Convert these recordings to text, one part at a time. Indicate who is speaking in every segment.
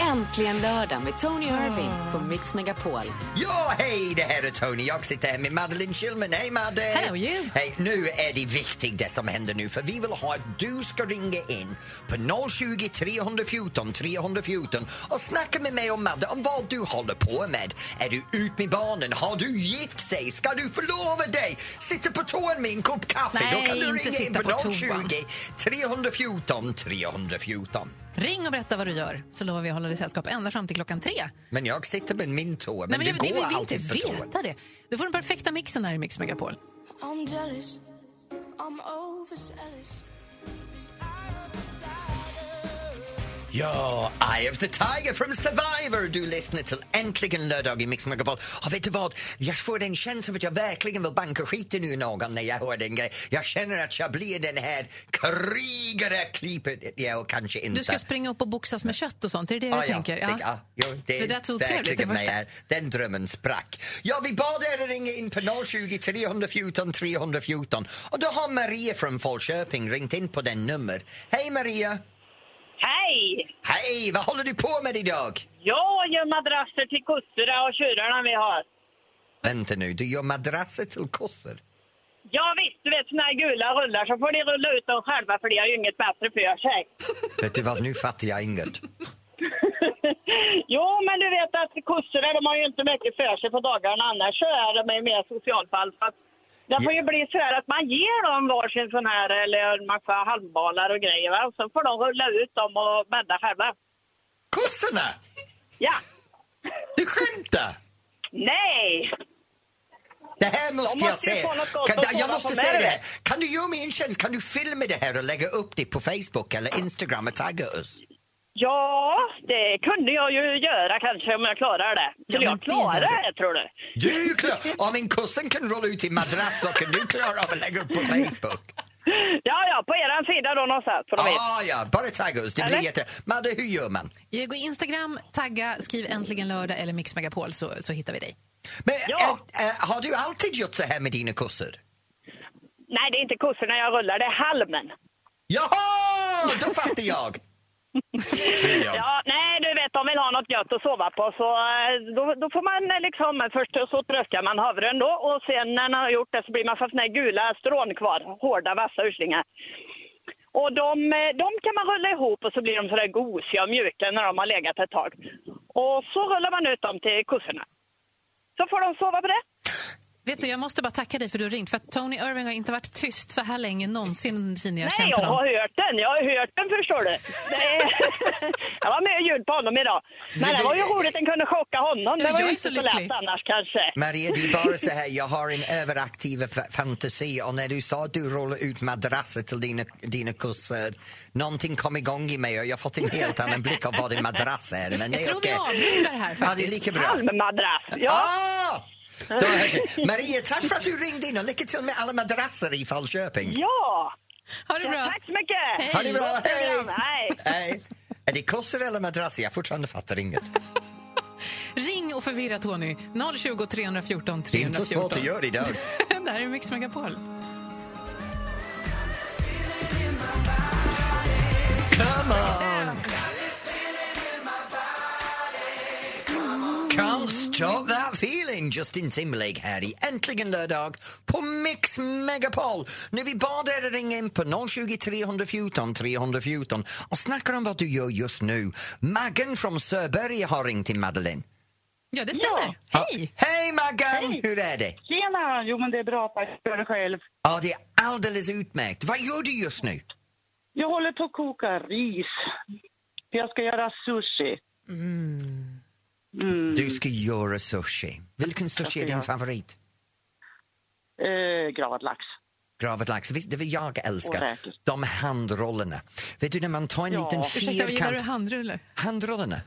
Speaker 1: Äntligen lördag med Tony Irving på Mix Megapol.
Speaker 2: Ja, hej, det här är Tony. Jag sitter här med Madeleine Schillman. Hej, Madde!
Speaker 3: Hello, you.
Speaker 2: Hej, nu är det viktigt det som händer nu för vi vill ha att du ska ringa in på 020 314 314 och snacka med mig och Madde om vad du håller på med. Är du ut med barnen? Har du gift sig? Ska du förlova dig? Sitter på toan med en kopp kaffe?
Speaker 3: Nej,
Speaker 2: Då kan du
Speaker 3: inte
Speaker 2: ringa in
Speaker 3: sitta
Speaker 2: på
Speaker 3: på
Speaker 2: 020
Speaker 3: toan.
Speaker 2: 314 314.
Speaker 3: Ring och berätta vad du gör, så lovar vi att hålla dig sällskap ända fram till klockan tre.
Speaker 2: Men jag sitter med min tå, men,
Speaker 3: Nej, men
Speaker 2: det
Speaker 3: jag,
Speaker 2: går
Speaker 3: det vill vi inte
Speaker 2: alltid på toan.
Speaker 3: veta det. Du får den perfekta mixen här i Mix Megapol.
Speaker 4: I'm jealous. I'm overzealous.
Speaker 2: Ja, Eye of the Tiger from Survivor. Du lyssnar till Äntligen lördag i Mix Megapol. Och vet du vad? Jag får en känsla av att jag verkligen vill banka skiten ur någon när jag hör den grejen. Jag känner att jag blir den här krigare klippet. Jag kanske inte.
Speaker 3: Du ska springa upp och boxas med kött och sånt, är det det du
Speaker 2: Ah, ja.
Speaker 3: tänker?
Speaker 2: Det, ja, jo, det
Speaker 3: För det
Speaker 2: är
Speaker 3: lät så otrevligt,
Speaker 2: verkligen
Speaker 3: det första.
Speaker 2: mig. Den drömmen sprack. Ja, vi bad er att ringa in på 020 314 314 och då har Maria från Falköping ringt in på den nummer. Hej Maria!
Speaker 5: Hej!
Speaker 2: Hej! Vad håller du på med idag?
Speaker 5: Jag gör madrasser till kossorna och tjurarna vi har.
Speaker 2: Vänta nu, du gör madrasser till kossor?
Speaker 5: Ja, visst, du vet såna här gula rullar så får de rulla ut dem själva för de har ju inget bättre för sig.
Speaker 2: Vet du vad, nu fattar jag inget.
Speaker 5: jo, men du vet att kossorna de har ju inte mycket för sig på dagarna annars så är de ju mer socialfall. Så att det får ju bli så här att man ger dem varsin sån här eller en massa halmbalar och grejer va? och så får de rulla ut dem och bädda själva.
Speaker 2: Kossorna!
Speaker 5: Ja!
Speaker 2: Du skämtar!
Speaker 5: Nej!
Speaker 2: Det här måste,
Speaker 5: De
Speaker 2: jag
Speaker 5: måste ju
Speaker 2: se.
Speaker 5: få något gott
Speaker 2: Kan,
Speaker 5: att
Speaker 2: jag
Speaker 5: kolla
Speaker 2: måste
Speaker 5: på
Speaker 2: se
Speaker 5: med
Speaker 2: det
Speaker 5: det.
Speaker 2: här. Kan du göra mig en tjänst? Kan du filma det här och lägga upp det på Facebook eller Instagram och tagga oss?
Speaker 5: Ja, det kunde jag ju göra kanske om jag klarar det. Skulle
Speaker 3: Ja, men
Speaker 5: jag
Speaker 3: det
Speaker 5: klara
Speaker 3: gör du.
Speaker 5: det, tror du?
Speaker 2: Du klar. Om min kusin kan rulla ut i madrass så kan du klara av att lägga upp på Facebook.
Speaker 5: Ja, ja, på eran sida då någonstans. Så de vet.
Speaker 2: Ah, ja, bara tagga oss. Det blir
Speaker 5: Eller?
Speaker 2: jätte... Madde, hur gör man?
Speaker 3: Jag går Instagram, tagga, skriv äntligen lördag eller Mix Megapol så, så hittar vi dig.
Speaker 2: Men,
Speaker 5: Ja.
Speaker 2: eh, eh, har du alltid gjort så här med dina kossor?
Speaker 5: Nej, det är inte kossorna jag rullar, det är halmen.
Speaker 2: Jaha! Då fattar jag! Tror jag.
Speaker 5: Ja, nej, du vet, de vill ha något gött att sova på. Så eh, då, då får man eh, liksom, först så tröskar man havren då och sen när man har gjort det så blir man fast med gula strån kvar, hårda vassa urslingar. Och de, eh, de kan man rulla ihop och så blir de sådär gosiga och mjuka när de har legat ett tag. Och så rullar man ut dem till kossorna. Så får de sova på det.
Speaker 3: Vet du, jag måste bara tacka dig för du har ringt. För att Tony Irving har inte varit tyst så här länge någonsin sedan jag har
Speaker 5: Nej,
Speaker 3: känt
Speaker 5: jag
Speaker 3: honom.
Speaker 5: har hört den. Jag har hört den, förstår du. Det är... jag var med och ljud på honom idag. Men det var ju roligt att kunna chocka honom.
Speaker 3: Ja,
Speaker 5: Det
Speaker 3: jag
Speaker 5: var ju
Speaker 3: är
Speaker 5: inte
Speaker 3: så
Speaker 5: så lätt
Speaker 3: lycklig.
Speaker 5: annars kanske.
Speaker 2: Maria, det är bara så här, jag har en överaktiv fa- fantasi och när du sa att du rullar ut madrasser till dina, dina kossor, någonting kom igång i mig och jag har fått en helt annan blick av vad en madrass är. Men det
Speaker 3: Jag
Speaker 2: är
Speaker 3: tror vi
Speaker 2: okej.
Speaker 3: avrundar här
Speaker 2: Ja, det är
Speaker 3: faktiskt.
Speaker 2: lika bra.
Speaker 5: Halmmadrass. Ja.
Speaker 2: Ah! Då hörs vi. Maria, tack för att du ringde in och lycka till med alla madrasser i Falköping.
Speaker 5: ja.
Speaker 3: Ha det bra.
Speaker 5: Tack så mycket.
Speaker 2: Ha det bra, hej!
Speaker 5: Hej.
Speaker 2: Hej. Är det kossor eller madrasser? Jag fortfarande fattar inget.
Speaker 3: Ring och förvirra Tony. 020 314 314.
Speaker 2: Det är inte så svårt att göra idag.
Speaker 3: det här är Mix Megapol.
Speaker 2: Come on! Can't stop that feeling! Justin Timberlake här i Äntligen lördag på Mix Megapol. Nu vi bad er att ringa in på 020 314 314 och snacka om vad du gör just nu. Maggan från Sörberge har ringt till Madeleine.
Speaker 3: Ja, det stämmer. Hej!
Speaker 2: Hej Maggan! Hur är det?
Speaker 6: Tjena! Jo, men det är bra tack. Gör det själv.
Speaker 2: Ja, det är alldeles utmärkt. Vad gör du just nu?
Speaker 6: Jag håller på att koka ris. För jag ska göra sushi. Mm.
Speaker 2: Du ska göra sushi. Vilken sushi är din
Speaker 6: göra-
Speaker 2: favorit?
Speaker 6: Eh, gravad lax.
Speaker 2: gravad lax. Vet du vad jag
Speaker 6: Och
Speaker 2: älskar?
Speaker 6: räkor.
Speaker 2: De handrollerna. Vet du när man tar en
Speaker 6: Ja.
Speaker 2: liten
Speaker 3: Ursäkta, vad gillar du
Speaker 2: fyrkant...
Speaker 3: handrullar?
Speaker 2: Handrollerna?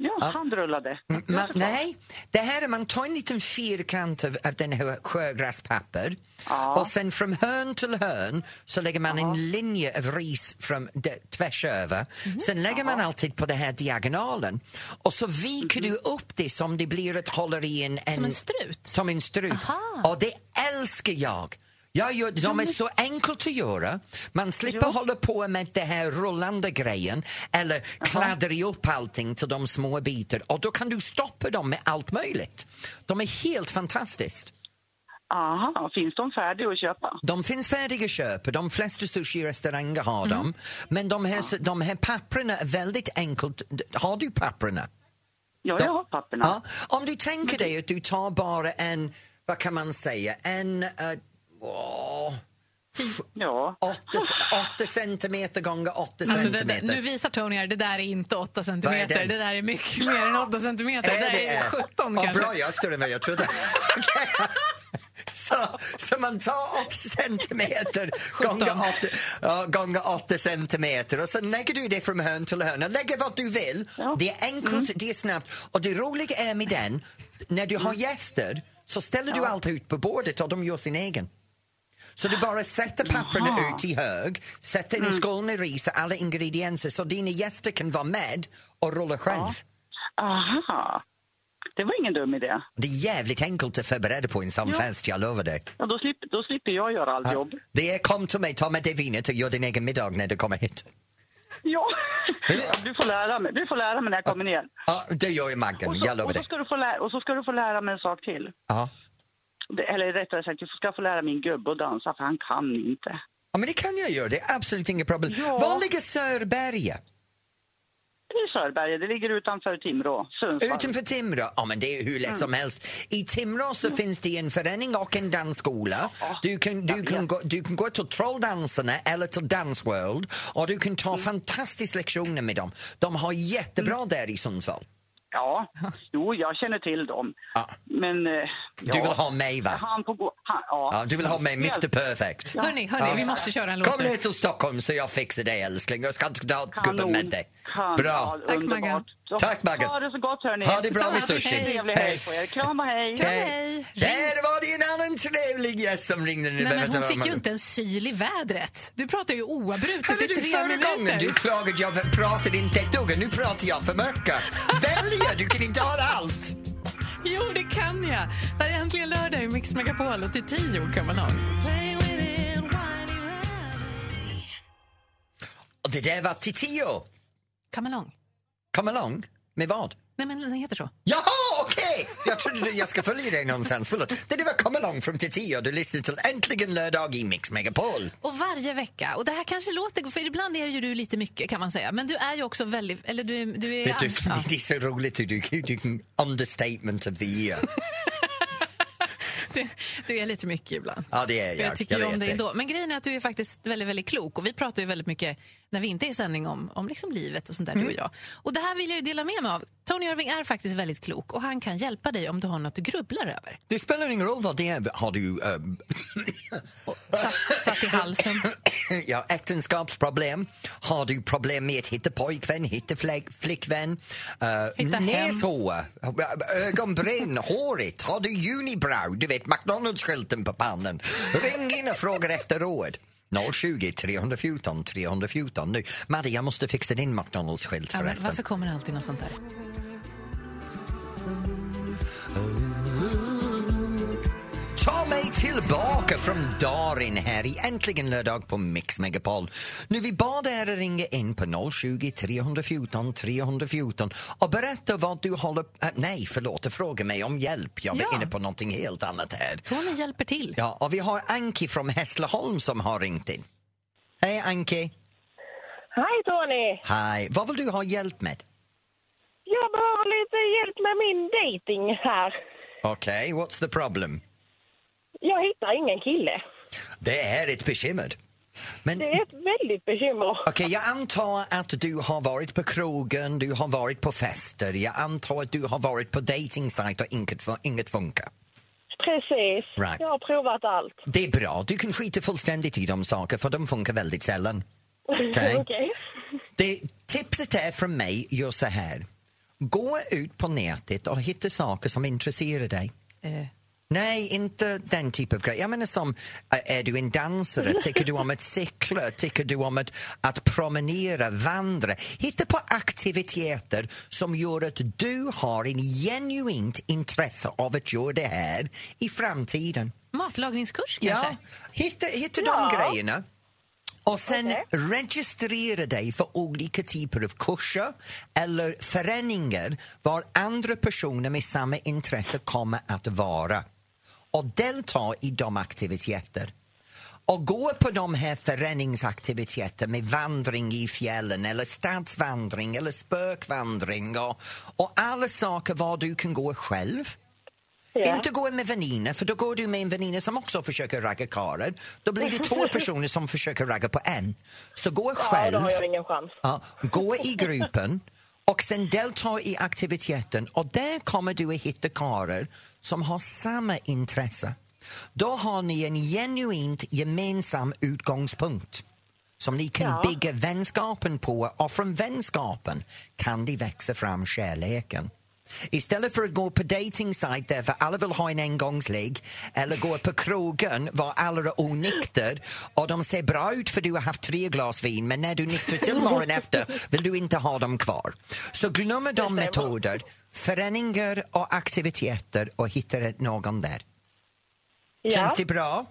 Speaker 6: Ja, handrullade.
Speaker 2: Mm, Man, nej, det här är man tar en liten fyrkant av, av den här sjögräspapper
Speaker 6: Ja.
Speaker 2: och sen från hörn till hörn så lägger man en linje av ris från d- tvärs över. Sen lägger man alltid på den här diagonalen och så viker du upp det som det blir att hålla i en...
Speaker 3: Som en strut?
Speaker 2: Som en Mm. strut.
Speaker 3: Aha.
Speaker 2: Och det älskar jag. Ja, ju- de är så enkelt att göra. Man slipper hålla på med det här rullande grejen eller kladdra ihop allting till de små bitar och då kan du stoppa dem med allt möjligt. De är helt fantastiskt.
Speaker 6: Aha, finns de färdiga att köpa?
Speaker 2: De finns färdiga att köpa, de flesta sushi-restauranger har dem. Men de här, de här papperna är väldigt enkelt. Har du papperna?
Speaker 6: Ja, jag har papperna.
Speaker 2: Ja. Om du tänker dig att du tar bara en, vad kan man säga, en... eh, åh,
Speaker 6: Ja.
Speaker 2: åtta, åtta centimeter gånger åtta
Speaker 3: Alltså, det, det,
Speaker 2: centimeter.
Speaker 3: nu visar Tony här, det där är inte 8 centimeter.
Speaker 2: den?
Speaker 3: Det där är mycket mer än 8 centimeter. Det, där är 17
Speaker 2: Vad
Speaker 3: kanske.
Speaker 2: bra, jag är större än vad jag trodde. Okej. Så, så man tar 80 centimeter gånger 80, ja, gånger 80 centimeter och sen lägger du det från hörn till hörn. Lägg vad du vill.
Speaker 6: Ja.
Speaker 2: Det är enkelt, det är snabbt. Och det roliga är med den, när du har gäster så ställer du allt ut på bordet och de gör sin egen. Så du bara sätter papperna ut i hög, sätter en skål med ris och alla ingredienser så dina gäster kan vara med och rulla själv.
Speaker 6: Aha. Det var ingen dum idé.
Speaker 2: Det är jävligt enkelt att förbereda på en sån
Speaker 6: Ja.
Speaker 2: fest, jag lovar dig.
Speaker 6: Ja, då, slipper, då slipper jag göra allt jobb.
Speaker 2: Det är kom till mig, ta med dig vinet och gör din egen middag när du kommer hit.
Speaker 6: Ja. Du får lära mig, du får lära mig när jag kommer ner.
Speaker 2: Ja, det gör jag
Speaker 6: Och
Speaker 2: Maggan, jag
Speaker 6: så,
Speaker 2: lovar
Speaker 6: och, så
Speaker 2: dig.
Speaker 6: ska du få lära, och så ska du få lära mig en sak till.
Speaker 2: Ja.
Speaker 6: Det- Eller rättare sagt, du ska få lära min gubbe att dansa, för han kan inte.
Speaker 2: ja, men det kan jag göra, det är absolut inget problem.
Speaker 6: Ja.
Speaker 2: Var ligger Sörberge?
Speaker 6: Det är Sörberge, det ligger utanför Timrå, Sundsvall.
Speaker 2: Utanför Timrå? Ja, men det är hur lätt
Speaker 6: Mm.
Speaker 2: som helst. I Timrå så finns det en förening och en dansskola. Du kan, du, kan gå, du kan gå till Trolldansarna eller till Dansworld och du kan
Speaker 6: Mm.
Speaker 2: ta fantastiska lektioner med dem. De har jättebra där i Sundsvall.
Speaker 6: Ja, jo, jag känner till dem.
Speaker 2: Ja.
Speaker 6: Men... eh, Ja.
Speaker 2: Du vill ha mig, va?
Speaker 6: Han får gå... Han, ja.
Speaker 2: Ja, du vill ha mig, Mr
Speaker 6: Hjälp.
Speaker 2: Perfect.
Speaker 3: Hörni, hörni, vi måste köra en låt
Speaker 2: Kom
Speaker 3: nu.
Speaker 2: ner till Stockholm så jag fixar dig älskling. Jag ska inte ta gubben med dig.
Speaker 6: Kanon.
Speaker 2: Bra.
Speaker 6: Ja,
Speaker 3: Tack,
Speaker 6: underbart.
Speaker 3: Maggan.
Speaker 6: Så-
Speaker 2: Tack, Maggan.
Speaker 6: Ha det så gott hörni.
Speaker 2: Ha det bra med
Speaker 6: Detsamma.
Speaker 2: sushi.
Speaker 6: Trevlig
Speaker 2: Hej.
Speaker 6: helg på er. Kram och hej.
Speaker 3: hej.
Speaker 2: Där var det en annan trevlig gäst som ringde nu.
Speaker 3: Nej, men hon
Speaker 2: Vänta,
Speaker 3: fick
Speaker 2: vad-
Speaker 3: ju inte en syl i vädret. Du pratar ju oavbrutet
Speaker 2: Hörde
Speaker 3: i
Speaker 2: du
Speaker 3: tre
Speaker 2: förra gången du
Speaker 3: minuter.
Speaker 2: klagade jag pratade inte ett dugg och nu pratar jag för mycket. Välja, du kan inte ha allt.
Speaker 3: Jo, det kan jag. Det här är äntligen lördag i Mix Megapol och till tio kan man ha.
Speaker 2: Och det där var Titio.
Speaker 3: Come along.
Speaker 2: Kom along. Med vad?
Speaker 3: Nej, men den heter så.
Speaker 2: Jaha, okej! Jag trodde du, jag ska följa dig någonstans. Förlåt. Det där var Kom along från Titio. Du lyssnar till Äntligen lördag i Mix Megapol.
Speaker 3: Och varje vecka. Och det här kanske låter... För ibland är ju du lite mycket kan man säga. Men du är ju också väldigt... Eller du, är- du är...
Speaker 2: Vet
Speaker 3: typ-
Speaker 2: du,
Speaker 3: Eh, ja.
Speaker 2: det är så roligt hur du, hur du kan understatement of the year.
Speaker 3: du, du är lite mycket ibland.
Speaker 2: Ja, det är jag.
Speaker 3: Jag tycker ju
Speaker 2: vet
Speaker 3: om dig ändå. Men grejen är att du är faktiskt väldigt, väldigt klok. Och vi pratar ju väldigt mycket när vi inte är i sändning om, om liksom livet och sånt där,
Speaker 2: Mm.
Speaker 3: du och jag. Och det här vill jag ju dela med mig av. Tony Irving är faktiskt väldigt klok och han kan hjälpa dig om du har något du grubblar över.
Speaker 2: Det spelar ingen roll vad det är. Har du ehm,
Speaker 3: Satt, satt i halsen.
Speaker 2: ja, äktenskapsproblem? Har du problem med att hitta pojkvän, hitta fläk, flickvän?
Speaker 3: Hitta
Speaker 2: Uh,
Speaker 3: hem.
Speaker 2: näshår, ögonbryn, håret? Har du unibrow? Du vet, McDonalds-skylten på pannan. Ring in och fråga efter råd. 020 314 314 nu. Madde, jag måste fixa din McDonalds-skylt
Speaker 3: Ja, men
Speaker 2: förresten.
Speaker 3: varför kommer det alltid något sånt där?
Speaker 2: Ta mig tillbaka från Darin här i Äntligen lördag på Mix Megapol. Nu vi bad er att ringa in på 020 314 314 och berätta vad du håller... Äh, nej, förlåt, och fråga mig om hjälp. Jag var
Speaker 3: Ja.
Speaker 2: inne på någonting helt annat här.
Speaker 3: Tony hjälper till.
Speaker 2: Ja, och vi har Anki från Hässleholm som har ringt in. Hej Anki!
Speaker 7: Hej Tony!
Speaker 2: Hej! Vad vill du ha hjälp med?
Speaker 7: Jag behöver lite hjälp med min dating här.
Speaker 2: Okej, what's the problem?
Speaker 7: Jag hittar ingen kille.
Speaker 2: Det är ett bekymmer. Men...
Speaker 7: Det är ett väldigt bekymmer.
Speaker 2: Okej, jag antar att du har varit på krogen, du har varit på fester. Jag antar att du har varit på dejtingsajter och inget, fu- inget funkar.
Speaker 7: Precis.
Speaker 2: Right.
Speaker 7: Jag har provat allt.
Speaker 2: Det är bra, du kan skita fullständigt i de saker för de funkar väldigt sällan. Okej.
Speaker 7: Okej.
Speaker 2: Det, tipset är från mig, gör så här. Gå ut på nätet och hitta saker som intresserar dig.
Speaker 3: Eh,
Speaker 2: Nej, inte den typen av grej. Jag menar som, ä, är du en dansare? Tycker du om att cykla? Tycker du om att, att promenera, vandra? Hitta på aktiviteter som gör att du har en genuint intresse av att göra det här i framtiden.
Speaker 3: Matlagningskurs kanske?
Speaker 2: Hitta, hitta de grejerna. Och sen registrera dig för olika typer av kurser eller föreningar var andra personer med samma intresse kommer att vara och delta i de aktiviteter. Och gå på de här föreningsaktiviteterna med vandring i fjällen eller stadsvandring eller spökvandring och, och alla saker var du kan gå själv. Inte gå med väninna, för då går du med en väninna som också försöker ragga karlar. Då blir det två personer som försöker ragga på en. Så gå
Speaker 8: Ja,
Speaker 2: själv,
Speaker 8: då har jag ingen chans.
Speaker 2: ja, gå i gruppen och sen delta i aktiviteten och där kommer du att hitta karlar som har samma intresse. Då har ni en genuint gemensam utgångspunkt som ni kan bygga vänskapen på och från vänskapen kan det växa fram kärleken. Istället för att gå på dating site där för alla vill ha en engångsligg eller gå på krogen var alla är onykter och de ser bra ut för du har haft tre glas vin men när du nyktrar till morgonen efter vill du inte ha dem kvar. Så glömmer de metoder, föreningar och aktiviteter och hittar någon där. Känns typ-
Speaker 8: Ja.
Speaker 2: det bra?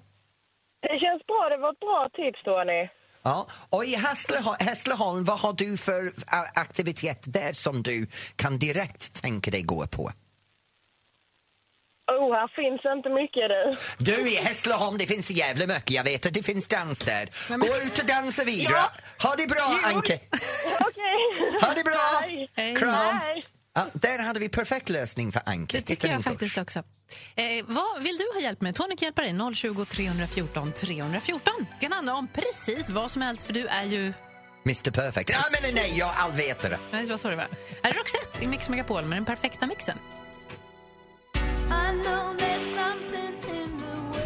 Speaker 8: Det känns bra. Det var ett bra tips, Tony.
Speaker 2: Ja, och i Hässleholm, Hässleholm, vad har du för ä, aktivitet där som du kan direkt tänka dig gå på?
Speaker 8: Oh, här finns inte mycket du.
Speaker 2: Du, i Hässleholm, det finns jävla mycket. Jag vet att det finns dans där. Gå ut och dansa vidare. Ha det bra, Anke.
Speaker 8: Okej.
Speaker 2: Ha det bra.
Speaker 3: Hej.
Speaker 2: Kram.
Speaker 8: Hej.
Speaker 2: Ja, där hade vi perfekt lösning för Anke.
Speaker 3: Det
Speaker 2: Hitta
Speaker 3: tycker jag
Speaker 2: din kurs.
Speaker 3: faktiskt också. Eh, vad vill du ha hjälp med? Tony kan hjälpa dig. 020 314 314. Det kan handla om precis vad som helst för du är ju...
Speaker 2: Mr Perfect. Ja, men nej, jag är allvetare.
Speaker 3: Jag vet inte vad sa du var. Här är Roxette i Mix Megapol med den perfekta mixen.
Speaker 4: I know there's something in the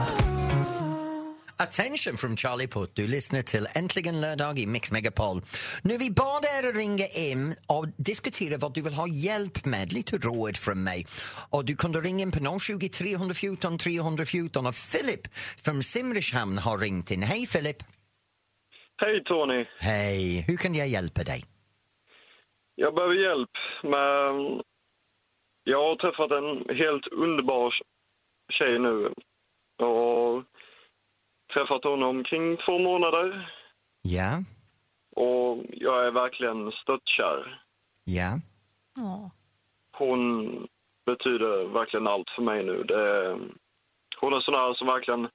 Speaker 4: world.
Speaker 2: Attention from Charlie Putt. Du lyssnar till Äntligen lördag i Mix Megapol. Nu vi bad er att ringa in och diskutera vad du vill ha hjälp med, lite råd från mig. Och du kunde ringa in på 020 314 314 och Philip från Simrishamn har ringt in. Hej Philip!
Speaker 9: Hej Tony!
Speaker 2: Hej! Hur kan jag hjälpa dig?
Speaker 9: Jag behöver hjälp med... Jag har träffat en helt underbar tjej nu. Och träffat honom kring två månader.
Speaker 2: Ja,
Speaker 9: Och jag är verkligen störtkär.
Speaker 2: ja.
Speaker 3: Åh.
Speaker 9: Hon betyder verkligen allt för mig nu. Det är... Hon är sån här som verkligen...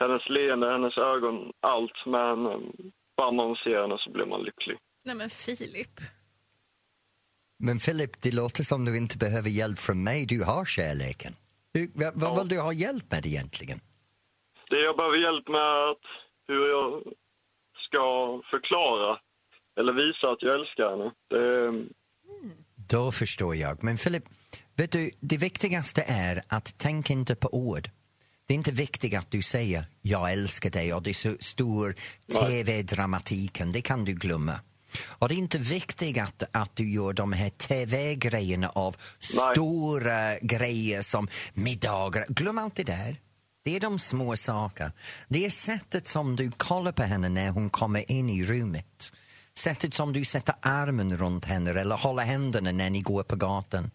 Speaker 9: Hennes leende, hennes ögon, allt med henne. Bara man ser henne så blir man lycklig.
Speaker 3: Nej men Filip.
Speaker 2: Men Philip, det låter som du inte behöver hjälp från mig. Du har kärleken. Du, vad vad
Speaker 9: Ja.
Speaker 2: vill du ha hjälp med egentligen?
Speaker 9: Det jag behöver hjälp med är att hur jag ska förklara eller visa att jag älskar henne. Det är,
Speaker 2: Då förstår jag. Men Filip, vet du, det viktigaste är att tänk inte på ord. Det är inte viktigt att du säger jag älskar dig och det är så stor tv-dramatiken, det kan du glömma. Och det är inte viktigt att, att du gör de här tv-grejerna av
Speaker 9: Nej.
Speaker 2: stora grejer som middagar. Glöm allt det där. Det är de små sakerna. Det är sättet som du kollar på henne när hon kommer in i rummet. Sättet som du sätter armen runt henne eller håller händerna när ni går på gatan.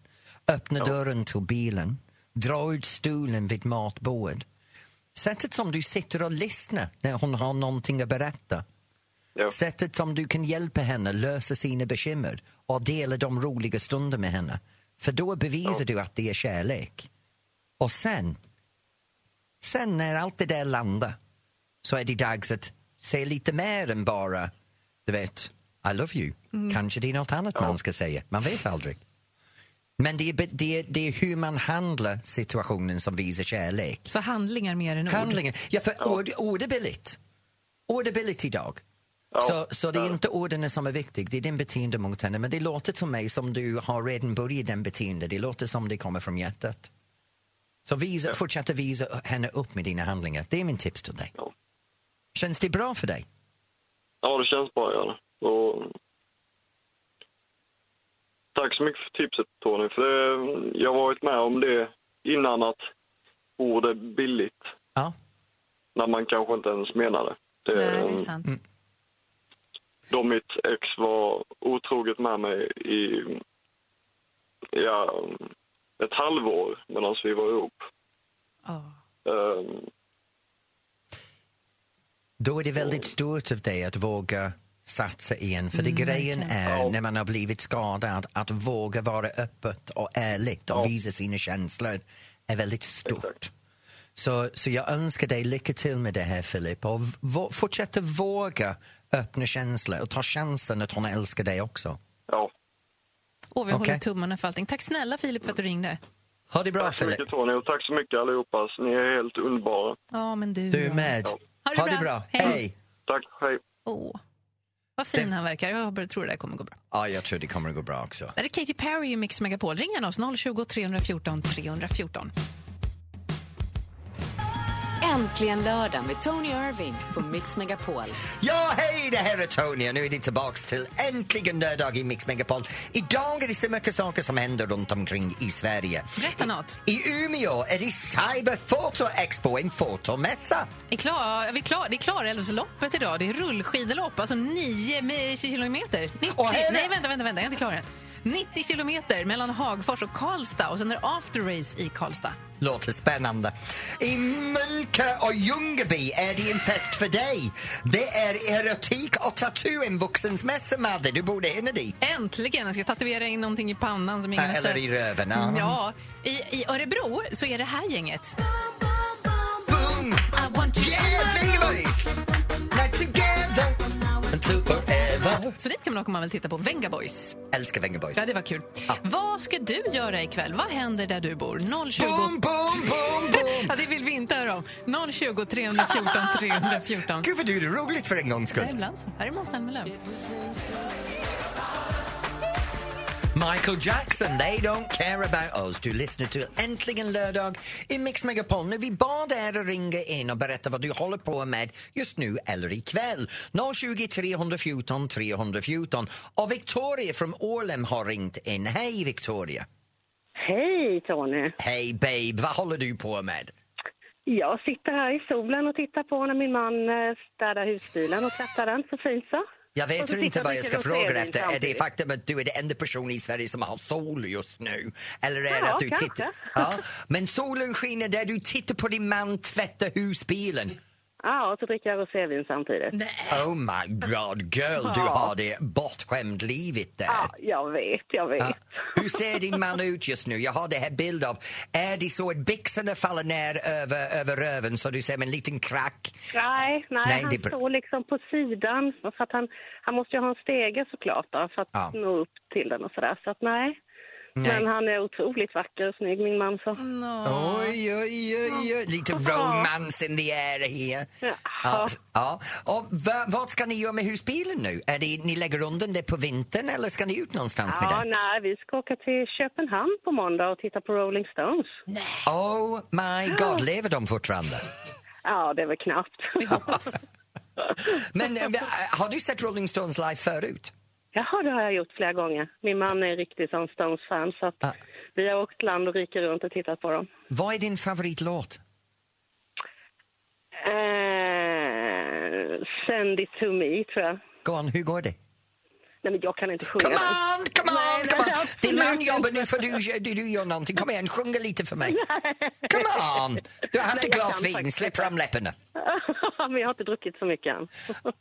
Speaker 2: Öppna dörren till bilen. Dra ut stolen vid matbordet. Sättet som du sitter och lyssnar när hon har någonting att berätta.
Speaker 9: ja.
Speaker 2: Sättet som du kan hjälpa henne lösa sina bekymmer och dela de roliga stunderna med henne. För då bevisar du att det är kärlek. Och sen, sen när allt det där landar så är det dags att säga lite mer än bara, du vet, I love you. Kanske det är något annat man ska säga. Man vet aldrig. Men det är, be- det, är, det är hur man handlar situationen som visar kärlek.
Speaker 3: Så handlingar mer än ord.
Speaker 2: Handlingen. Ja, för ord, ord är billigt. Ord är billigt idag.
Speaker 9: Ja,
Speaker 2: så, så det är
Speaker 9: ja.
Speaker 2: inte orden som är viktigt, det är din beteende mot henne. Men det låter till mig som du har redan börjat den beteende. Det låter som det kommer från hjärtat. Så visa, fortsätt att visa henne upp med dina handlingar. Det är min tips till dig.
Speaker 9: Ja.
Speaker 2: Känns det bra för dig?
Speaker 9: ja, det känns bra att göra det. Och Tack så mycket för tipset Tony. För det, jag har varit med om det innan att ord är billigt.
Speaker 2: Ja.
Speaker 9: När man kanske inte ens menar det.
Speaker 3: Nej, det är sant.
Speaker 2: Mm.
Speaker 9: Då mitt ex var otroget med mig i ja, ett halvår medan vi var ihop.
Speaker 3: Ja.
Speaker 9: Ehm,
Speaker 2: Då är det väldigt stort av dig att våga satsa igen. För
Speaker 9: Mm,
Speaker 2: det grejen är, när man har blivit skadad, att våga vara öppet och ärligt och visa sina känslor är väldigt stort.
Speaker 9: Exakt.
Speaker 2: Så, så jag önskar dig lycka till med det här, Filip. Och v- fortsätt att våga öppna känslor och ta chansen att hon älskar dig också.
Speaker 9: ja.
Speaker 3: Åh, vi
Speaker 2: Okej.
Speaker 3: håller tummarna för allting. Tack snälla Filip för att du ringde.
Speaker 2: Ha det bra,
Speaker 9: Tack så
Speaker 2: Filip.
Speaker 9: mycket Tony och tack så mycket allihopa. Ni är helt underbara.
Speaker 3: Ja, men du.
Speaker 2: Du är
Speaker 3: då.
Speaker 2: med.
Speaker 3: Ha det bra. Hej.
Speaker 2: Hej.
Speaker 9: Tack, hej.
Speaker 3: Åh. Vad fin han verkar. Jag bara tror det där kommer gå bra.
Speaker 2: Ja, jag tror det kommer att gå bra också.
Speaker 3: Det här är Katy Perry i Mix Megapol. Ring gärna oss 020 314 314.
Speaker 1: Äntligen lördag med Tony Irving på Mix Megapol.
Speaker 2: Ja, hej, det här är Tony och nu är det tillbaks till äntligen lördag i Mix Megapol. Idag är det så mycket saker som händer runt omkring i Sverige.
Speaker 3: Berätta något.
Speaker 2: I Umeå är det Cyber Photo Expo, en fotomässa.
Speaker 3: Är klar, är vi klar, det är Klarälvsloppet idag. Det är rullskidlopp, alltså 9 mi- kilometer. 90,
Speaker 2: Åh, är det-
Speaker 3: nej, vänta, vänta, vänta, jag är inte klar än. 90 kilometer mellan Hagfors och Karlstad och sen är det afterrace i Karlstad.
Speaker 2: Låter spännande. I Munke och Ljungby är det en fest för dig. Det är erotik och tattoo, vuxens mässa, Madde. Du borde hinna dit.
Speaker 3: Äntligen! Jag ska tatuera in någonting i pannan som ingen har
Speaker 2: Eller
Speaker 3: sett.
Speaker 2: i röven.
Speaker 3: Mm, Ja, i, I Örebro så är det här gänget.
Speaker 2: Boom!
Speaker 3: I want you
Speaker 2: Yeah, think about this! Not together until forever.
Speaker 3: Så dit kan man åka om man vill titta på Venga Boys.
Speaker 2: Älskar Venga Boys.
Speaker 3: Ja, det var kul.
Speaker 2: Ja.
Speaker 3: Vad ska du göra ikväll? Vad händer där du bor? 020...
Speaker 2: Boom, boom, boom, boom!
Speaker 3: Ja, det vill vi inte höra om. 020 314 314.
Speaker 2: Gud vad du är roligt för en gångs
Speaker 3: Ja,
Speaker 2: skull.
Speaker 3: ibland så. Här är Måns Zelmerlöw.
Speaker 2: Michael Jackson, they don't care about us. Du lyssnar till Äntligen lördag i Mix Megapol. Nu vi bad er att ringa in och berätta vad du håller på med just nu eller ikväll. 020 314 314. Och Victoria från Ålem har ringt in. Hej Victoria!
Speaker 7: Hej Tony!
Speaker 2: Hej babe, vad håller du på med?
Speaker 7: Jag sitter här i solen och tittar på när min man eh, städar husbilen och tvättar den så fint så.
Speaker 2: Jag
Speaker 7: Och
Speaker 2: vet
Speaker 7: så
Speaker 2: ju inte
Speaker 7: tittar
Speaker 2: vad
Speaker 7: vi
Speaker 2: jag
Speaker 7: till
Speaker 2: ska fråga
Speaker 7: roteringen
Speaker 2: efter. Är det
Speaker 7: samtidigt.
Speaker 2: faktum att du är den enda personen i Sverige som har sol just nu? Eller är det
Speaker 7: Ja,
Speaker 2: att du
Speaker 7: kanske.
Speaker 2: tittar... Ja, men solen skiner där du tittar på din man tvätta husbilen.
Speaker 7: Ja, och så dricker jag rosévin samtidigt.
Speaker 2: Oh my god, girl, du har det bortskämd livet där.
Speaker 7: Ja, jag vet, jag vet.
Speaker 2: Hur ser din man ut just nu? Jag har det här bild av, är det så att byxorna faller ner över, över röven så du ser en liten krack?
Speaker 7: Nej, nej,
Speaker 2: Nej,
Speaker 7: han
Speaker 2: det är bra.
Speaker 7: står liksom på sidan. För att han, han måste ju ha en stege såklart då, för att
Speaker 2: Ja.
Speaker 7: nå upp till den och sådär. Så att nej. Men han är otroligt vacker och snygg min man. Så.
Speaker 2: Oj, oj, oj, oj. Lite romance in the air här.
Speaker 7: Ja.
Speaker 2: Ja. ja. Och va, vad ska ni göra med husbilen nu? Är det, ni lägger undan det på vintern eller ska ni ut någonstans med
Speaker 7: Ja,
Speaker 2: den?
Speaker 7: nej, vi ska åka till Köpenhamn på måndag och titta på Rolling Stones.
Speaker 2: Oh my god, lever de fortfarande?
Speaker 7: Ja, det är väl knappt.
Speaker 3: Vi hoppas.
Speaker 2: Men eh, har du sett Rolling Stones live förut?
Speaker 7: Jaha, det har jag gjort flera gånger. Min man är riktigt sån Stones-fan så att
Speaker 2: Ah.
Speaker 7: vi har åkt land och rike runt och tittat på dem.
Speaker 2: Vad är din favoritlåt?
Speaker 7: Eh, send it to me, tror jag.
Speaker 2: Go on, hur går det?
Speaker 7: Nej, men jag kan inte sjunga.
Speaker 2: Come on, come on,
Speaker 7: Nej, nej,
Speaker 2: come on!
Speaker 7: absolut
Speaker 2: Din man
Speaker 7: inte.
Speaker 2: jobbar nu för du, du, du gör någonting. Kom igen, sjunga lite för mig. Come on! Du har haft
Speaker 7: Nej,
Speaker 2: ett
Speaker 7: jag kan
Speaker 2: glas vin,
Speaker 7: faktiskt
Speaker 2: släpp fram läpparna.
Speaker 7: men jag har inte druckit så mycket än.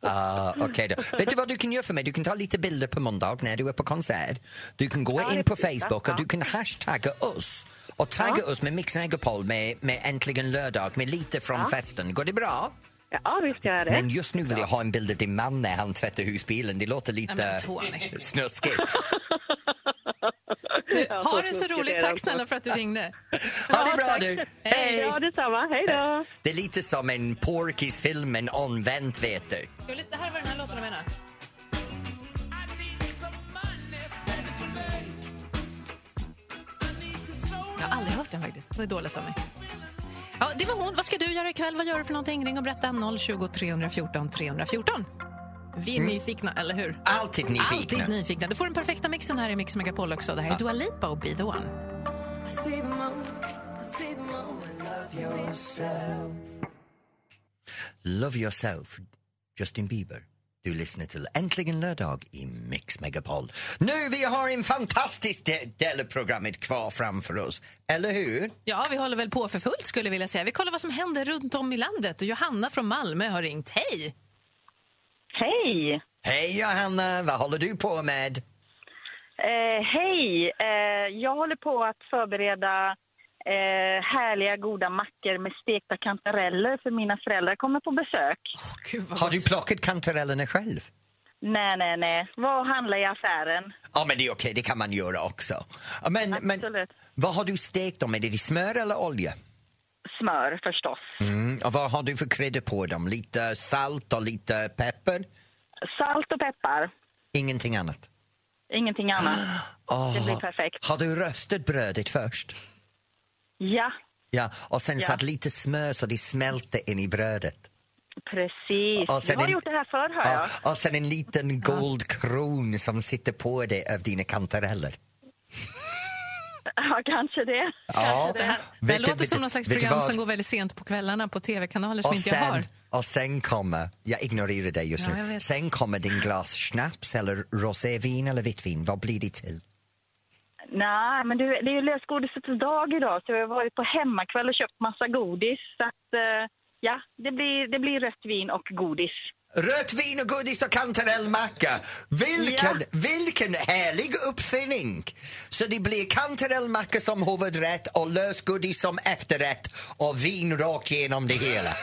Speaker 2: Ah, okej då. Vet du vad du kan göra för mig? Du kan ta lite bilder på måndag när du är på konsert. Du kan gå in
Speaker 7: det
Speaker 2: på
Speaker 7: precis,
Speaker 2: Facebook
Speaker 7: ja.
Speaker 2: och du kan hashtagga oss och tagga oss med Mix Megapol med, med Äntligen lördag med lite från festen. Går det bra?
Speaker 7: Ja, visst gör jag det.
Speaker 2: Men just nu vill jag ha en bild av din man när han tvättar husbilen. Det låter
Speaker 3: men
Speaker 2: lite
Speaker 3: Tony.
Speaker 2: snuskigt.
Speaker 3: Du,
Speaker 7: Jag har
Speaker 3: ha
Speaker 7: fått
Speaker 3: det alltså. så
Speaker 7: mycket
Speaker 3: roligt.
Speaker 7: redan.
Speaker 3: Tack snälla för att du ringde.
Speaker 2: Ha det
Speaker 7: Ja,
Speaker 2: bra
Speaker 7: tack.
Speaker 2: du! Hej!
Speaker 7: Ja, detsamma. Hej då!
Speaker 2: Det är lite som en porkisfilm, men omvänt vet du.
Speaker 3: Ska vi lyssna- Det här var den här låten jag menar. Jag har aldrig hört den faktiskt. Det är dåligt av mig. Ja, det var hon. Vad ska du göra ikväll? Vad gör du för någonting? Ring och berätta. 020 314 314. Vi är nyfikna, eller hur?
Speaker 2: Alltid nyfikna.
Speaker 3: Alltid nyfikna. Du får den perfekta mixen här i Mix Megapol också. Det här är Dua Lipa och Be the One.
Speaker 2: Love yourself, Justin Bieber. Du lyssnar till Äntligen lördag i Mix Megapol. Nu, vi har en fantastisk de- del av programmet kvar framför oss, eller hur?
Speaker 3: Ja, vi håller väl på för fullt skulle jag vilja säga. Vi kollar vad som händer runt om i landet. Och Johanna från Malmö har ringt. Hej!
Speaker 10: Hej!
Speaker 2: Hej Johanna, vad håller du på med?
Speaker 10: Eh, hej! Eh, jag håller på att förbereda eh, härliga goda mackor med stekta kantareller för mina föräldrar kommer på besök.
Speaker 2: Har du plockat kantarellerna själv?
Speaker 10: Nej, nej, nej. Vad handlar i affären?
Speaker 2: Ja, men det är okej, det kan man göra också. Ja, Men, men vad har du stekt dem med? Är det smör eller olja?
Speaker 10: Smör förstås.
Speaker 2: Mm. Och vad har du för kryddor på dem? Lite salt och lite peppar?
Speaker 10: Salt och peppar.
Speaker 2: Ingenting annat?
Speaker 10: Ingenting annat.
Speaker 2: Åh,
Speaker 3: Ah.
Speaker 10: Det blir perfekt.
Speaker 2: Har du röstat brödet först?
Speaker 10: Ja,
Speaker 2: Ja, och sen
Speaker 10: Ja.
Speaker 2: satt lite smör så det smälte in i brödet.
Speaker 10: precis.
Speaker 3: Ah,
Speaker 2: Och sen
Speaker 10: jag har
Speaker 2: en-
Speaker 10: gjort det här förr, hör jag.
Speaker 2: Ja, och sen en liten guldkron som sitter på dig av dina kantareller.
Speaker 10: Ja, kanske det.
Speaker 2: Ja.
Speaker 3: Det, här, det här
Speaker 2: Vet du-
Speaker 3: låter
Speaker 2: vet
Speaker 3: som
Speaker 2: du-
Speaker 3: något slags
Speaker 2: vet du
Speaker 3: program
Speaker 2: vad?
Speaker 3: som går väldigt sent på kvällarna på tv-kanaler som
Speaker 2: Och
Speaker 3: inte jag har.
Speaker 2: sen, och sen kommer, jag ignorerar dig just
Speaker 3: Ja, jag
Speaker 2: nu,
Speaker 3: vet.
Speaker 2: sen kommer din glas snaps eller rosévin eller vitt vin. Vad blir det till?
Speaker 10: Nej, men du, det är ju lösgodisets dag idag så jag har varit på hemmakväll och köpt massa godis. Så att, eh, ja, det blir, det blir rött vin och godis.
Speaker 2: Rött vin och godis och kantarellmacka. Vilken, vilken härlig uppfinning! Så det blir kantarellmacka som huvudrätt och lösgodis som efterrätt och vin rakt igenom det hela.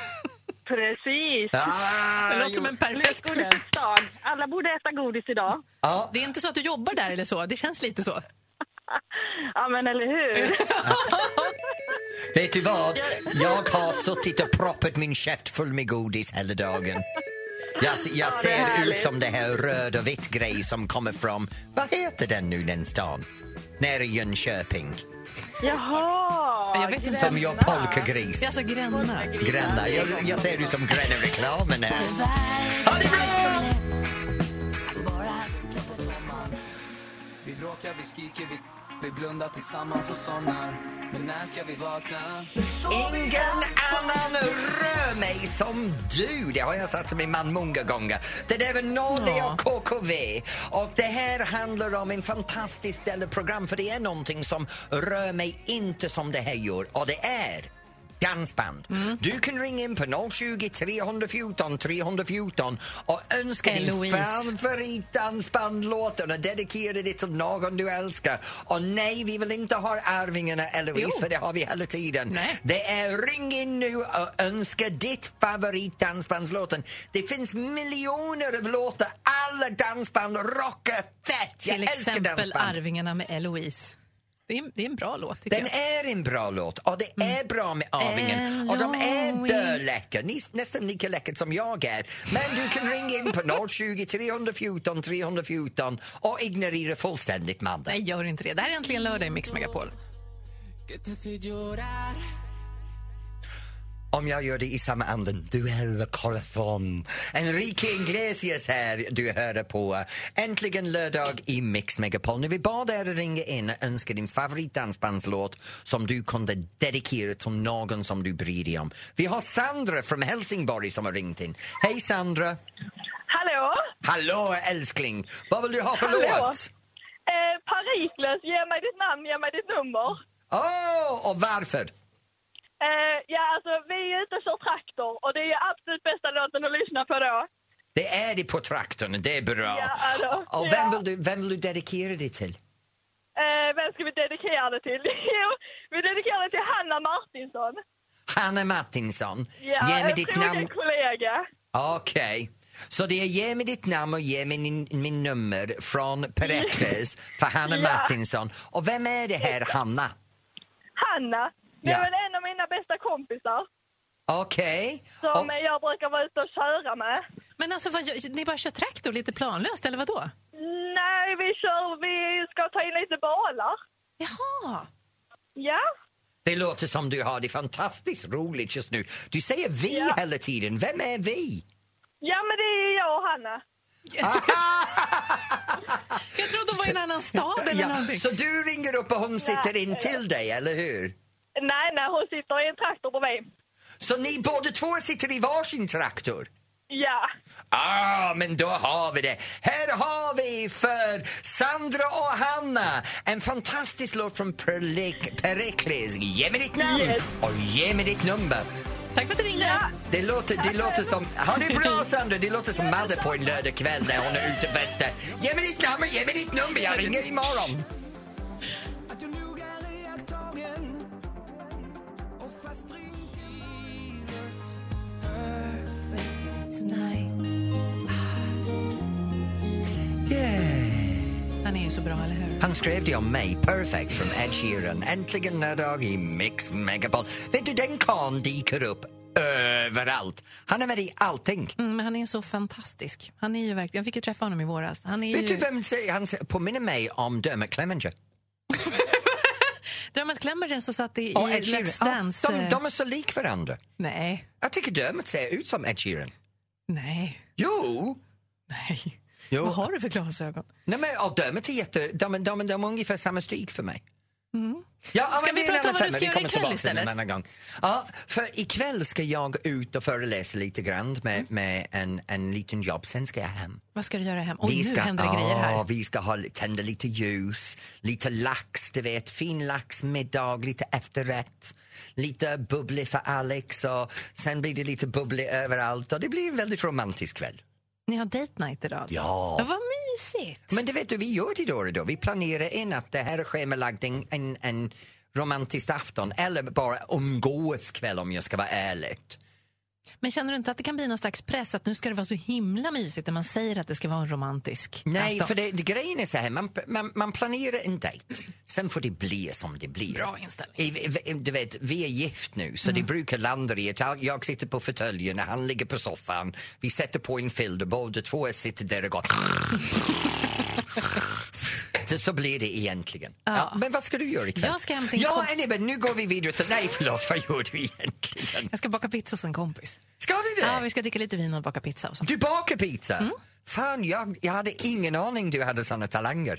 Speaker 10: Precis!
Speaker 2: Ah, Det låter som jo. en perfekt
Speaker 10: Lösgodisets dag. Alla borde äta godis idag.
Speaker 2: Ja.
Speaker 3: Det är inte så att du jobbar där eller så? Det känns lite så.
Speaker 10: Ja, men eller hur?
Speaker 2: Vet du vad? Jag har suttit och proppat min käft full med godis hela dagen. Jag, se- jag
Speaker 11: det är
Speaker 2: ser ut
Speaker 11: härligt.
Speaker 2: som det här röd och vitt grej som kommer från, vad heter den nu den stan? Nere i Jönköping.
Speaker 10: Jaha!
Speaker 3: Jag vet inte.
Speaker 2: Som jag polkagris.
Speaker 3: Alltså Gränna.
Speaker 2: Gränna. Jag, jag ser ut som Gränna-reklamen här.
Speaker 12: Vi bråkar, vi skriker, vi, vi blundar tillsammans och somnar. Men när ska vi vakna?
Speaker 2: Ingen annan rör mig som du! Det har jag sagt till min man många gånger. Det där var Nolly och KKV. Och det här handlar om en fantastisk del av program för det är någonting som rör mig inte som det här gör. Och det är dansband. Du kan ringa in på 020 314 314 och önska din
Speaker 11: Eloise.
Speaker 2: favoritdansbandlåt och dedikera det till någon du älskar. Och nej, vi vill inte ha Arvingarna eller
Speaker 11: Jo.
Speaker 2: för det har vi hela tiden. Det är ring in nu och önska ditt favoritdansbandslåten. Det finns miljoner av låtar. Alla dansband rockar fett. Jag
Speaker 3: Till
Speaker 2: älskar
Speaker 3: exempel
Speaker 2: dansband.
Speaker 3: Arvingarna med Eloise. Det är, det är en bra låt tycker
Speaker 2: Den
Speaker 3: jag. Mm.
Speaker 2: är en bra låt och det är bra med Avingen och de är
Speaker 3: Eloise.
Speaker 2: döläcker, Ni- nästan lika läckert som jag är. Men du kan ringa in på 020 314 314 och ignorera fullständigt mannen.
Speaker 3: Nej, gör inte det. Det här är äntligen lördag i Mix Megapol.
Speaker 2: Om jag gör det i samma anden, du är kolofon. Enrique Iglesias här, du hör på. Äntligen lördag i Mix Megapol. Nu vi bad er att ringa in och önska din favoritdansbandslåt som du kunde dedikera till någon som du bryr dig om. Vi har Sandra från Helsingborg som har ringt in. Hej Sandra!
Speaker 13: Hallå?
Speaker 2: Hallå älskling! Vad vill du ha för
Speaker 13: Hallå?
Speaker 2: låt?
Speaker 13: Eh, Parislös, ge mig ditt namn, ge mig ditt nummer.
Speaker 2: Åh, och varför?
Speaker 13: Eh, ja, alltså vi är ute och kör traktor och det är ju absolut bästa låten att lyssna på då.
Speaker 2: Det är det på traktorn, det är bra.
Speaker 13: Ja, alltså,
Speaker 2: och
Speaker 13: ja.
Speaker 2: vem vill, du, vem vill du dedikera det till?
Speaker 13: Eh, vem ska vi dedikera det till? Jo, vi dedikerar det till Hanna Martinsson.
Speaker 2: Hanna Martinsson,
Speaker 13: Ja,
Speaker 2: ge mig
Speaker 13: en
Speaker 2: ditt
Speaker 13: trogen
Speaker 2: namn.
Speaker 13: kollega.
Speaker 2: Okej. Så det är ge mig ditt namn och ge mig min, min nummer från Peretres för Hanna
Speaker 13: Ja.
Speaker 2: Martinsson. Och vem är det här, Hanna?
Speaker 13: Hanna, det
Speaker 2: Ja.
Speaker 13: är väl en av mina bästa kompisar
Speaker 2: Okej.
Speaker 13: som eh, jag brukar vara ute och köra med.
Speaker 3: Men alltså, vad, gör- ni bara kör traktor lite planlöst, eller vad då?
Speaker 13: Nej, vi kör, vi ska ta in lite balar.
Speaker 3: Jaha!
Speaker 13: Ja,
Speaker 2: Det låter som du har det fantastiskt roligt just nu. Du säger vi hela tiden. Vem är vi?
Speaker 13: ja men det är ju jag och Hanna.
Speaker 3: Jag trodde de var i en annan stad eller någonting.
Speaker 2: Så du ringer upp och hon sitter in till dig, eller hur?
Speaker 13: Nej, nej, hon sitter i en traktor bredvid.
Speaker 2: Så ni båda två sitter i varsin traktor?
Speaker 13: Ja.
Speaker 2: Ah, men då har vi det. Här har vi för Sandra och Hanna en fantastisk låt från Perlik- Perikles. Ge mig ditt namn och ge mig ditt nummer.
Speaker 3: Tack för att du ringde. Ja.
Speaker 2: Det låter, det låter som... Ha det bra, Sandra! Det låter som Madde på en lördagkväll när hon är ute och festar. Ge mig ditt namn och ge mig ditt nummer, jag ringer imorgon!
Speaker 3: Han är ju så bra, eller hur?
Speaker 2: Han skrev det om mig, Perfect, från Ed Sheeran. Äntligen lördag i Mix Megapol. Vet du, den karln dyker upp överallt. Han är med i allting.
Speaker 3: Mm, men han är så fantastisk. Han är ju verkligen... Jag fick ju träffa honom i våras. Han är
Speaker 2: Vet du
Speaker 3: ju...
Speaker 2: vem säger, han säger- påminner mig om Dermot Clemenger?
Speaker 3: Dermot Clemmerton som satt i, i
Speaker 2: Och Ed Sheeran.
Speaker 3: Let's Dance.
Speaker 2: Ja, de,
Speaker 3: eh,
Speaker 2: de är så lik varandra.
Speaker 3: Nej,
Speaker 2: Jag tycker Dermot ser ut som Ed Sheeran.
Speaker 3: nej.
Speaker 2: Jo!
Speaker 3: Nej.
Speaker 2: Jo.
Speaker 3: Vad har du för glasögon?
Speaker 2: Nej, men, ja, Dermot är jätte... De, de, de, de är ungefär samma stryk för mig.
Speaker 3: Mm.
Speaker 2: Ja,
Speaker 3: Ska
Speaker 2: men
Speaker 3: vi
Speaker 2: det är
Speaker 3: prata
Speaker 2: en annan
Speaker 3: om vad du
Speaker 2: femma.
Speaker 3: ska
Speaker 2: Vi
Speaker 3: göra
Speaker 2: kommer
Speaker 3: ikväll
Speaker 2: tillbaka till den en
Speaker 3: istället?
Speaker 2: annan gång. Ja, för ikväll ska jag ut och föreläsa lite grann med, med en, en liten jobb, sen ska jag hem.
Speaker 3: Vad ska du göra hem? Och nu händer det grejer
Speaker 2: Ja,
Speaker 3: här.
Speaker 2: vi ska ha, tända lite ljus, lite lax, du vet, fin laxmiddag, lite efterrätt, lite bubblig för Alex och sen blir det lite bubblig överallt och det blir en väldigt romantisk kväll.
Speaker 3: Ni har date night idag alltså?
Speaker 2: Ja.
Speaker 3: Vad mysigt!
Speaker 2: Men du vet du, vi gör det då och då. Vi planerar in att det här är schemalagd en, en, en romantisk afton eller bara umgås kväll om jag ska vara ärlig.
Speaker 3: Men känner du inte att det kan bli någon slags press att nu ska det vara så himla mysigt när man säger att det ska vara en romantisk
Speaker 2: Nej,
Speaker 3: afton?
Speaker 2: för det, det, grejen är så här, man, man, man planerar en dejt, sen får det bli som det blir.
Speaker 3: Bra inställning. Mm.
Speaker 2: I- i- Du vet, vi är gift nu, så det brukar landa i att jag- jag sitter på fåtöljen och han ligger på soffan. Vi sätter på en filter, båda två sitter där och går... Så, så blir det egentligen. Ja. men vad ska du göra ikväll?
Speaker 3: Jag ska hämta en
Speaker 2: Ja,
Speaker 3: komp-
Speaker 2: nej, men nu går vi vidare till... Nej, förlåt, vad gjorde vi egentligen?
Speaker 3: Jag ska baka pizza hos en kompis.
Speaker 2: Ska du det?
Speaker 3: Ja, Mm. vi ska dricka lite vin och baka pizza och så.
Speaker 2: Du bakar pizza? Fan, jag, jag hade ingen aning du hade såna talanger.